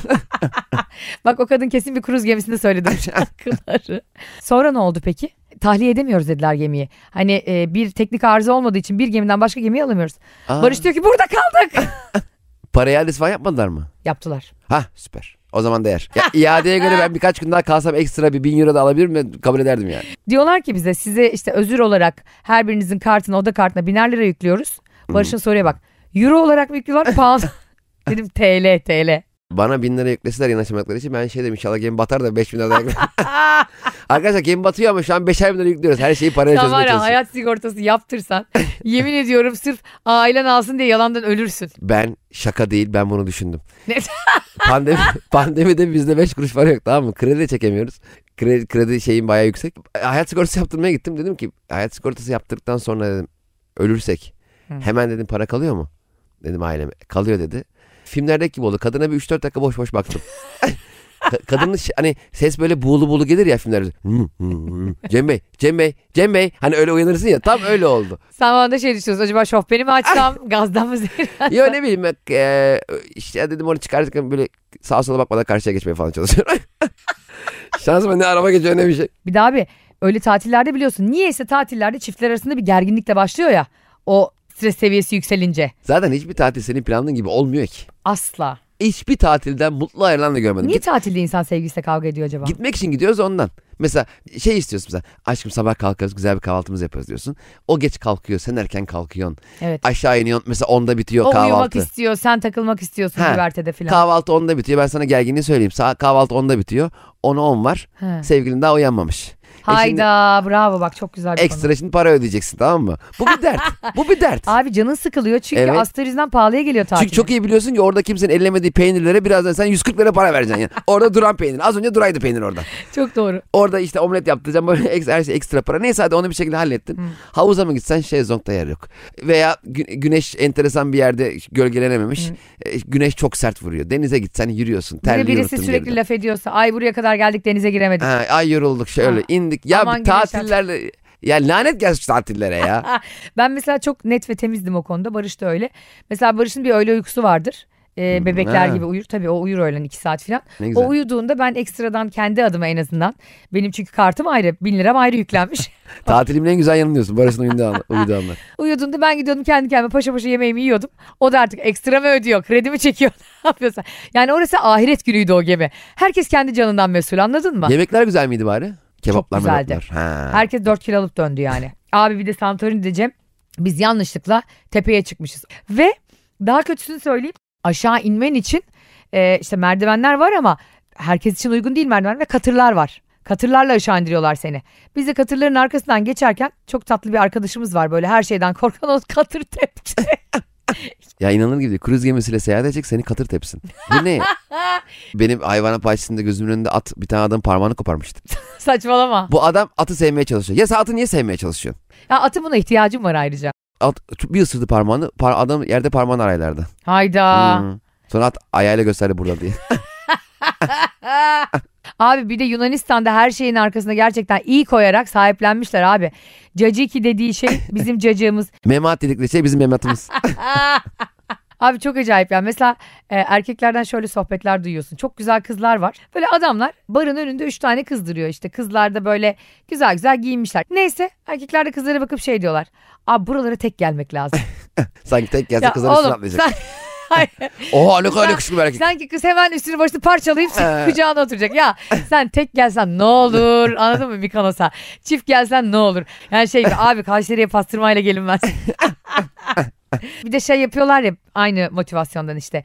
[SPEAKER 1] Bak o kadın kesin bir kruz gemisinde söyledi bu şarkıları. Sonra ne oldu peki? Tahliye edemiyoruz dediler gemiyi. Hani e, bir teknik arıza olmadığı için bir gemiden başka gemiyi alamıyoruz.
[SPEAKER 2] Aa,
[SPEAKER 1] Barış diyor ki burada kaldık.
[SPEAKER 2] Parayı adres falan yapmadılar mı?
[SPEAKER 1] Yaptılar.
[SPEAKER 2] Ha süper. O zaman değer. Ya, iadeye göre ben birkaç gün daha kalsam ekstra bir bin euro da alabilir miyim? Kabul ederdim yani.
[SPEAKER 1] Diyorlar ki bize size işte özür olarak her birinizin kartına oda kartına biner lira yüklüyoruz. Barış'ın soruya bak. Euro olarak mı yüklüyorlar pound? Dedim TL TL.
[SPEAKER 2] Bana bin lira yükleseler yanaşamadıkları için ben şey dedim inşallah gemi batar da beş bin lira daha yükle-
[SPEAKER 1] Ah,
[SPEAKER 2] Arkadaşlar gemi batıyor ama şu an beşer bin lira yüklüyoruz. Her şeyi parayla
[SPEAKER 1] Sen
[SPEAKER 2] çözmeye
[SPEAKER 1] var ya
[SPEAKER 2] çalışıyoruz.
[SPEAKER 1] hayat sigortası yaptırsan yemin ediyorum sırf ailen alsın diye yalandan ölürsün.
[SPEAKER 2] Ben şaka değil ben bunu düşündüm.
[SPEAKER 1] Ne-
[SPEAKER 2] Pandemi, pandemide bizde 5 kuruş para yok tamam mı? Kredi de çekemiyoruz. Kredi, kredi şeyim bayağı yüksek. Hayat sigortası yaptırmaya gittim. Dedim ki hayat sigortası yaptırdıktan sonra dedim ölürsek
[SPEAKER 1] Hı.
[SPEAKER 2] hemen dedim para kalıyor mu? Dedim aileme kalıyor dedi. Filmlerdeki gibi oldu. Kadına bir 3-4 dakika boş boş baktım. Ka- Kadının şey- hani ses böyle buğulu buğulu gelir ya filmlerde. Hı, hı, hı. Cem Bey, Cem Bey, Cem Bey. Hani öyle uyanırsın ya tam öyle oldu.
[SPEAKER 1] Sen bana da şey düşünüyorsun acaba şofbeni mi açsam gazdan mı zehir?
[SPEAKER 2] Yo ne bileyim bak, e, işte dedim onu çıkartırken böyle sağa sola bakmadan karşıya geçmeye falan çalışıyorum. Şansıma ne araba geçiyor ne bir şey.
[SPEAKER 1] Bir daha abi öyle tatillerde biliyorsun niyeyse tatillerde çiftler arasında bir gerginlikle başlıyor ya o stres seviyesi yükselince.
[SPEAKER 2] Zaten hiçbir tatil senin planladığın gibi olmuyor ki.
[SPEAKER 1] Asla.
[SPEAKER 2] Hiçbir tatilden mutlu ayrılan da görmedim.
[SPEAKER 1] Niye
[SPEAKER 2] Git-
[SPEAKER 1] tatilde insan sevgilisiyle kavga ediyor acaba?
[SPEAKER 2] gitmek için gidiyoruz ondan. Mesela şey istiyorsun mesela aşkım sabah kalkarız güzel bir kahvaltımızı yaparız diyorsun. O geç kalkıyor sen erken kalkıyorsun.
[SPEAKER 1] Evet.
[SPEAKER 2] Aşağı iniyorsun mesela onda bitiyor
[SPEAKER 1] o uyumak
[SPEAKER 2] kahvaltı.
[SPEAKER 1] istiyor sen takılmak istiyorsun
[SPEAKER 2] Ha.
[SPEAKER 1] güvertede falan.
[SPEAKER 2] Kahvaltı onda bitiyor ben sana gerginliği söyleyeyim. Sa- kahvaltı onda bitiyor. 10'a 10 var.
[SPEAKER 1] Ha.
[SPEAKER 2] Sevgilin daha uyanmamış. E şimdi-
[SPEAKER 1] Hayda bravo bak çok güzel bir konu.
[SPEAKER 2] Ekstra şimdi para ödeyeceksin tamam mı? Bu bir dert. Bu bir dert.
[SPEAKER 1] Abi canın sıkılıyor çünkü
[SPEAKER 2] Evet.
[SPEAKER 1] asterizden pahalıya geliyor tatil.
[SPEAKER 2] Çünkü çok iyi biliyorsun ki orada kimsenin ellemediği peynirlere birazdan sen 140 lira para vereceksin. Yani. Orada duran peynir. Az önce duraydı peynir orada.
[SPEAKER 1] çok doğru.
[SPEAKER 2] Orada işte omlet yaptıracağım. Böyle ekstra, her şey ekstra para. Neyse hadi onu bir şekilde hallettin. Havuza mı gitsen şezlongda yer yok. Veya gü- güneş enteresan bir yerde gölgelenememiş. E, Güneş çok sert vuruyor. Denize gitsen yürüyorsun.
[SPEAKER 1] Bir de
[SPEAKER 2] Terli
[SPEAKER 1] birisi
[SPEAKER 2] yuruttum
[SPEAKER 1] sürekli
[SPEAKER 2] geriden.
[SPEAKER 1] laf ediyorsa ay buraya kadar geldik denize giremedik.
[SPEAKER 2] Ha, ay yorulduk şöyle
[SPEAKER 1] Ha.
[SPEAKER 2] indik. Ya
[SPEAKER 1] Ah, Aman
[SPEAKER 2] bir
[SPEAKER 1] güneş
[SPEAKER 2] tatillerle... Ya lanet gelsin şu tatillere ya.
[SPEAKER 1] Ah, Ben mesela çok net ve temizdim o konuda. Barış da öyle. Mesela Barış'ın bir öğle uykusu vardır. Ee, bebekler
[SPEAKER 2] ha.
[SPEAKER 1] gibi uyur. Tabii o uyur öğlen iki saat falan.
[SPEAKER 2] Ne Hmm, güzel.
[SPEAKER 1] O uyuduğunda ben ekstradan kendi adıma en azından. Benim çünkü kartım ayrı. Bin liram ayrı yüklenmiş.
[SPEAKER 2] Tatilimin en güzel yanı diyorsun. Barış'ın uyuduğu an- uyuduğu anlar.
[SPEAKER 1] uyuduğunda ben gidiyordum kendi kendime paşa paşa yemeğimi yiyordum. O da artık ekstra mı ödüyor? Kredi mi çekiyor? ne yapıyorsa. Yani orası ahiret günüydü o gemi. Herkes kendi canından mesul anladın mı?
[SPEAKER 2] Yemekler güzel miydi bari? Kebaplar
[SPEAKER 1] Çok güzeldi.
[SPEAKER 2] mebaplar. Ha.
[SPEAKER 1] Herkes 4 kilo alıp döndü yani. Abi bir de Santorini diyeceğim. Biz yanlışlıkla tepeye çıkmışız. Ve daha kötüsünü söyleyeyim. Aşağı inmen için e, işte merdivenler var ama herkes için uygun değil merdiven ve katırlar var. Katırlarla aşağı indiriyorlar seni. Biz de katırların arkasından geçerken çok tatlı bir arkadaşımız var böyle her şeyden korkan o katır tepti.
[SPEAKER 2] Ya inanılır gibi değil. Kruz gemisiyle seyahat edecek seni katır tepsin. Bu ne? Benim hayvanat bahçesinde gözümün önünde at bir tane adam parmağını koparmıştı.
[SPEAKER 1] Saçmalama.
[SPEAKER 2] Bu adam atı sevmeye çalışıyor. Ya sen atı niye sevmeye çalışıyorsun?
[SPEAKER 1] Ya atın buna ihtiyacım var ayrıca.
[SPEAKER 2] At bir ısırdı parmağını. par- adam yerde parmağını araylardı.
[SPEAKER 1] Hayda.
[SPEAKER 2] Hmm. Sonra at ayağıyla gösterdi burada diye.
[SPEAKER 1] Ah. Abi bir de Yunanistan'da her şeyin arkasına gerçekten iyi koyarak sahiplenmişler abi. Caciki dediği şey bizim cacığımız.
[SPEAKER 2] Memat dedikleri şey bizim mematımız.
[SPEAKER 1] abi çok acayip yani. Mesela e, erkeklerden şöyle sohbetler duyuyorsun. Çok güzel kızlar var. Böyle adamlar barın önünde üç tane kız duruyor işte. Kızlar da böyle güzel güzel giyinmişler. Neyse erkekler de kızlara bakıp şey diyorlar. Abi buralara tek gelmek lazım.
[SPEAKER 2] Sanki tek gelse
[SPEAKER 1] Ya
[SPEAKER 2] kızların üstüne
[SPEAKER 1] oğlum,
[SPEAKER 2] atlayacak.
[SPEAKER 1] sen- Hayır.
[SPEAKER 2] Oha ne kadar
[SPEAKER 1] sen-
[SPEAKER 2] yakışıklı bir erkek.
[SPEAKER 1] Sanki kız hemen üstünü başını parçalayıp senin
[SPEAKER 2] Ee.
[SPEAKER 1] kucağına oturacak. Ya sen tek gelsen ne olur anladın mı Mikonos'a? Çift gelsen ne olur? Yani şey gibi, abi Kayseri'ye pastırmayla gelinmez. Bir de şey yapıyorlar ya aynı motivasyondan işte.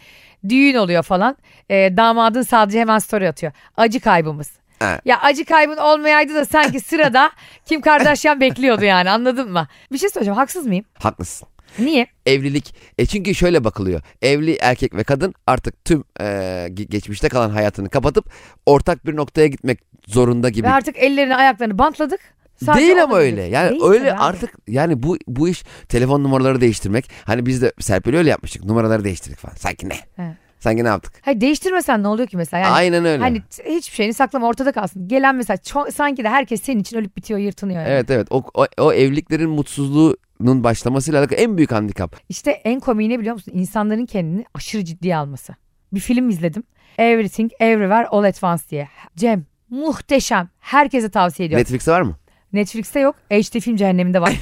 [SPEAKER 1] Düğün oluyor falan. Ee, damadın sadece hemen story atıyor. Acı kaybımız.
[SPEAKER 2] Evet.
[SPEAKER 1] Ya acı kaybın olmayaydı da sanki sırada Kim Kardashian bekliyordu yani anladın mı? Bir şey söyleyeceğim haksız mıyım?
[SPEAKER 2] Haklısın.
[SPEAKER 1] Niye?
[SPEAKER 2] Evlilik e çünkü şöyle bakılıyor. Evli erkek ve kadın artık tüm e, ge- geçmişte kalan hayatını kapatıp ortak bir noktaya gitmek zorunda gibi.
[SPEAKER 1] Ve artık ellerini ayaklarını bantladık. Sadece
[SPEAKER 2] Değil
[SPEAKER 1] ona
[SPEAKER 2] ama öyle.
[SPEAKER 1] gidiyorsun.
[SPEAKER 2] Yani
[SPEAKER 1] Değil
[SPEAKER 2] öyle
[SPEAKER 1] tabii abi.
[SPEAKER 2] artık yani bu bu iş telefon numaraları değiştirmek. Hani biz de Serpil öyle yapmıştık. Numaraları değiştirdik falan. Sanki ne?
[SPEAKER 1] Evet.
[SPEAKER 2] Sanki ne yaptık?
[SPEAKER 1] Hayır değiştirmesen ne oluyor ki mesela? Yani
[SPEAKER 2] Aynen öyle.
[SPEAKER 1] Hani t- hiçbir şeyini saklama ortada kalsın. Gelen mesela ço- sanki de herkes senin için ölüp bitiyor yırtınıyor. yani.
[SPEAKER 2] Evet evet. O, o, o evliliklerin mutsuzluğunun başlamasıyla alakalı en büyük handikap.
[SPEAKER 1] İşte en komiği ne biliyor musun? İnsanların kendini aşırı ciddiye alması. Bir film izledim. Everything Everywhere All At Once diye. Cem muhteşem. Herkese tavsiye ediyorum.
[SPEAKER 2] Netflix'te var mı?
[SPEAKER 1] Netflix'te yok. HD film cehenneminde var.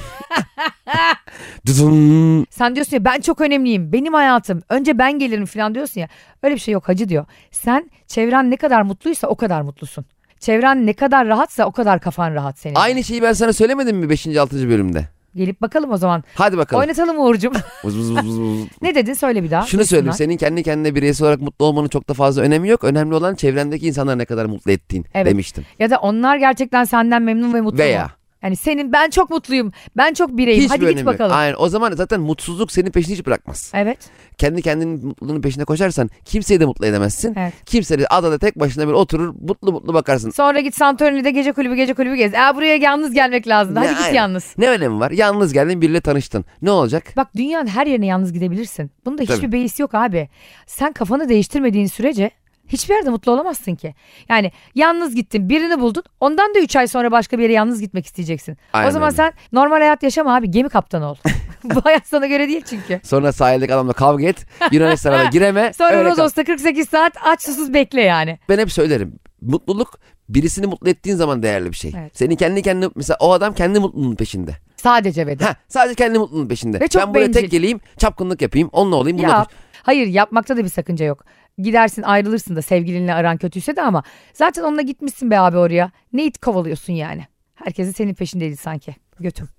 [SPEAKER 2] Dudum.
[SPEAKER 1] Sen diyorsun ya ben çok önemliyim. Benim hayatım. Önce ben gelirim falan diyorsun ya. Öyle bir şey yok hacı diyor. Sen çevren ne kadar mutluysa o kadar mutlusun. Çevren ne kadar rahatsa o kadar kafan rahat senin.
[SPEAKER 2] Aynı şeyi ben sana söylemedim mi 5. 6. bölümde?
[SPEAKER 1] Gelip bakalım o zaman.
[SPEAKER 2] Hadi bakalım.
[SPEAKER 1] Oynatalım Uğur'cum.
[SPEAKER 2] Vız vız vız vız vız.
[SPEAKER 1] ne dedin söyle bir daha.
[SPEAKER 2] Şunu söyleyeyim senin kendi kendine bireysel olarak mutlu olmanın çok da fazla önemi yok. Önemli olan çevrendeki insanları ne kadar mutlu ettiğin
[SPEAKER 1] Evet.
[SPEAKER 2] demiştim.
[SPEAKER 1] Ya da onlar gerçekten senden memnun ve mutlu
[SPEAKER 2] Veya.
[SPEAKER 1] mu? Yani senin ben çok mutluyum. Ben çok bireyim.
[SPEAKER 2] Hiçbir
[SPEAKER 1] Hadi
[SPEAKER 2] önemi
[SPEAKER 1] git
[SPEAKER 2] yok.
[SPEAKER 1] bakalım.
[SPEAKER 2] Aynen o zaman zaten mutsuzluk senin peşini hiç bırakmaz.
[SPEAKER 1] Evet.
[SPEAKER 2] Kendi kendinin mutluluğunun peşine koşarsan kimseyi de mutlu edemezsin.
[SPEAKER 1] Evet.
[SPEAKER 2] Kimse de adada tek başına bir oturur mutlu mutlu bakarsın.
[SPEAKER 1] Sonra git Santorini'de gece kulübü gece kulübü gez. Aa buraya yalnız gelmek lazım. Hadi
[SPEAKER 2] Ne-
[SPEAKER 1] git
[SPEAKER 2] aynen.
[SPEAKER 1] yalnız.
[SPEAKER 2] Ne önemi var? Yalnız geldin biriyle tanıştın. Ne olacak?
[SPEAKER 1] Bak dünyanın her yerine yalnız gidebilirsin. Bunda hiçbir
[SPEAKER 2] Tabii.
[SPEAKER 1] beis yok abi. Sen kafanı değiştirmediğin sürece hiçbir yerde mutlu olamazsın ki. Yani yalnız gittin birini buldun ondan da 3 ay sonra başka bir yere yalnız gitmek isteyeceksin.
[SPEAKER 2] Aynen
[SPEAKER 1] o zaman
[SPEAKER 2] öyle.
[SPEAKER 1] sen normal hayat yaşama abi gemi kaptanı ol. Bu hayat sana göre değil çünkü.
[SPEAKER 2] Sonra sahildeki adamla kavga et. Yunanistan'a da gireme.
[SPEAKER 1] Sonra
[SPEAKER 2] öyle kal.
[SPEAKER 1] Rodos'ta 48 saat aç susuz bekle yani.
[SPEAKER 2] Ben hep söylerim. Mutluluk birisini mutlu ettiğin zaman değerli bir şey.
[SPEAKER 1] Evet.
[SPEAKER 2] Senin kendi kendine mesela o adam kendi mutluluğunun peşinde.
[SPEAKER 1] Sadece ve de.
[SPEAKER 2] Ha, sadece kendi mutluluğunun peşinde.
[SPEAKER 1] Ve çok
[SPEAKER 2] ben buraya
[SPEAKER 1] bencil.
[SPEAKER 2] tek geleyim, çapkınlık yapayım, onunla olayım, bununla
[SPEAKER 1] Ya
[SPEAKER 2] konuş-
[SPEAKER 1] hayır yapmakta da bir sakınca yok. Gidersin ayrılırsın da sevgilinle aran kötüyse de ama zaten onunla gitmişsin be abi oraya. Ne it kovalıyorsun yani? Herkesin senin peşindeydi sanki. Götüm.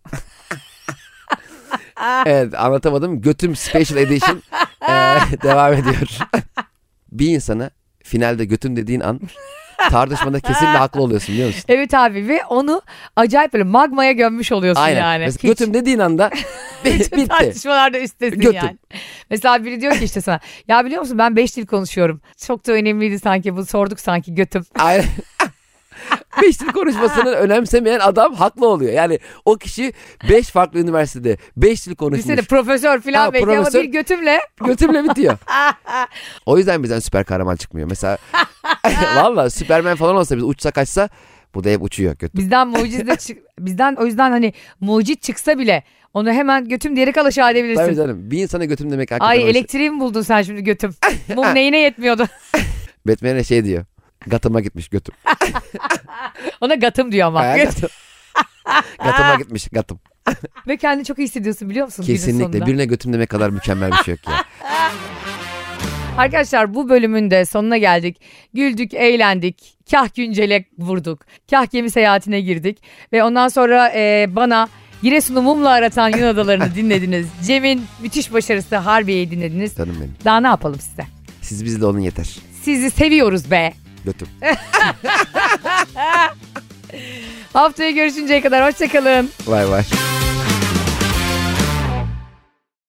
[SPEAKER 2] Evet, Ee, anlatamadım. Götüm Special Edition eee, devam ediyor. bir insana finalde götüm dediğin an tartışmada kesinlikle haklı oluyorsun biliyor musun?
[SPEAKER 1] Evet abi ve onu acayip böyle magmaya gömmüş oluyorsun
[SPEAKER 2] Aynen.
[SPEAKER 1] yani.
[SPEAKER 2] Mesela
[SPEAKER 1] Hiç-
[SPEAKER 2] götüm dediğin anda bi-
[SPEAKER 1] bütün
[SPEAKER 2] bitti.
[SPEAKER 1] tartışmalarda üstesin
[SPEAKER 2] Götüm.
[SPEAKER 1] yani. Mesela biri diyor ki işte sana ya biliyor musun ben beş dil konuşuyorum. Çok da önemliydi sanki bu sorduk sanki götüm.
[SPEAKER 2] Aynen. Beşli konuşmasını önemsemeyen adam haklı oluyor. Yani o kişi beş farklı üniversitede beş dil konuşmuş.
[SPEAKER 1] Düşünsene profesör falan
[SPEAKER 2] Ha,
[SPEAKER 1] belki ama
[SPEAKER 2] profesör.
[SPEAKER 1] bir götümle
[SPEAKER 2] Götümle bitiyor. o yüzden bizden süper kahraman çıkmıyor. Mesela valla Superman falan olsa biz uçsa kaçsa bu da hep uçuyor götü.
[SPEAKER 1] Bizden mucize çık bizden o yüzden hani mucit çıksa bile onu hemen götüm diyerek al aşağı edebilirsin.
[SPEAKER 2] Tabii canım bir insana götüm demek hakikaten. şey.
[SPEAKER 1] Ay
[SPEAKER 2] hoş.
[SPEAKER 1] elektriği mi buldun sen şimdi götüm? Mum neyine yetmiyordu?
[SPEAKER 2] Batman'e şey diyor. Gatıma gitmiş götüm.
[SPEAKER 1] Ona gatım diyor ama.
[SPEAKER 2] Ayağa
[SPEAKER 1] Göt-
[SPEAKER 2] gatım. Gatıma gitmiş gatım.
[SPEAKER 1] Ve kendini çok iyi hissediyorsun biliyor musun? günün
[SPEAKER 2] Kesinlikle
[SPEAKER 1] sonunda?
[SPEAKER 2] birine götüm demek kadar mükemmel bir şey yok ya.
[SPEAKER 1] Arkadaşlar bu bölümün de sonuna geldik. Güldük, eğlendik. Kah güncele vurduk. Kah gemi seyahatine girdik. Ve ondan sonra e, bana Giresun'u mumla aratan Yun Adaları'nı dinlediniz. Cem'in müthiş başarısı Harbiye'yi dinlediniz.
[SPEAKER 2] Canım benim.
[SPEAKER 1] Daha ne yapalım size?
[SPEAKER 2] Siz bizde olun yeter.
[SPEAKER 1] Sizi seviyoruz be.
[SPEAKER 2] Götüm.
[SPEAKER 1] Haftaya görüşünceye kadar hoşçakalın.
[SPEAKER 2] Vay vay.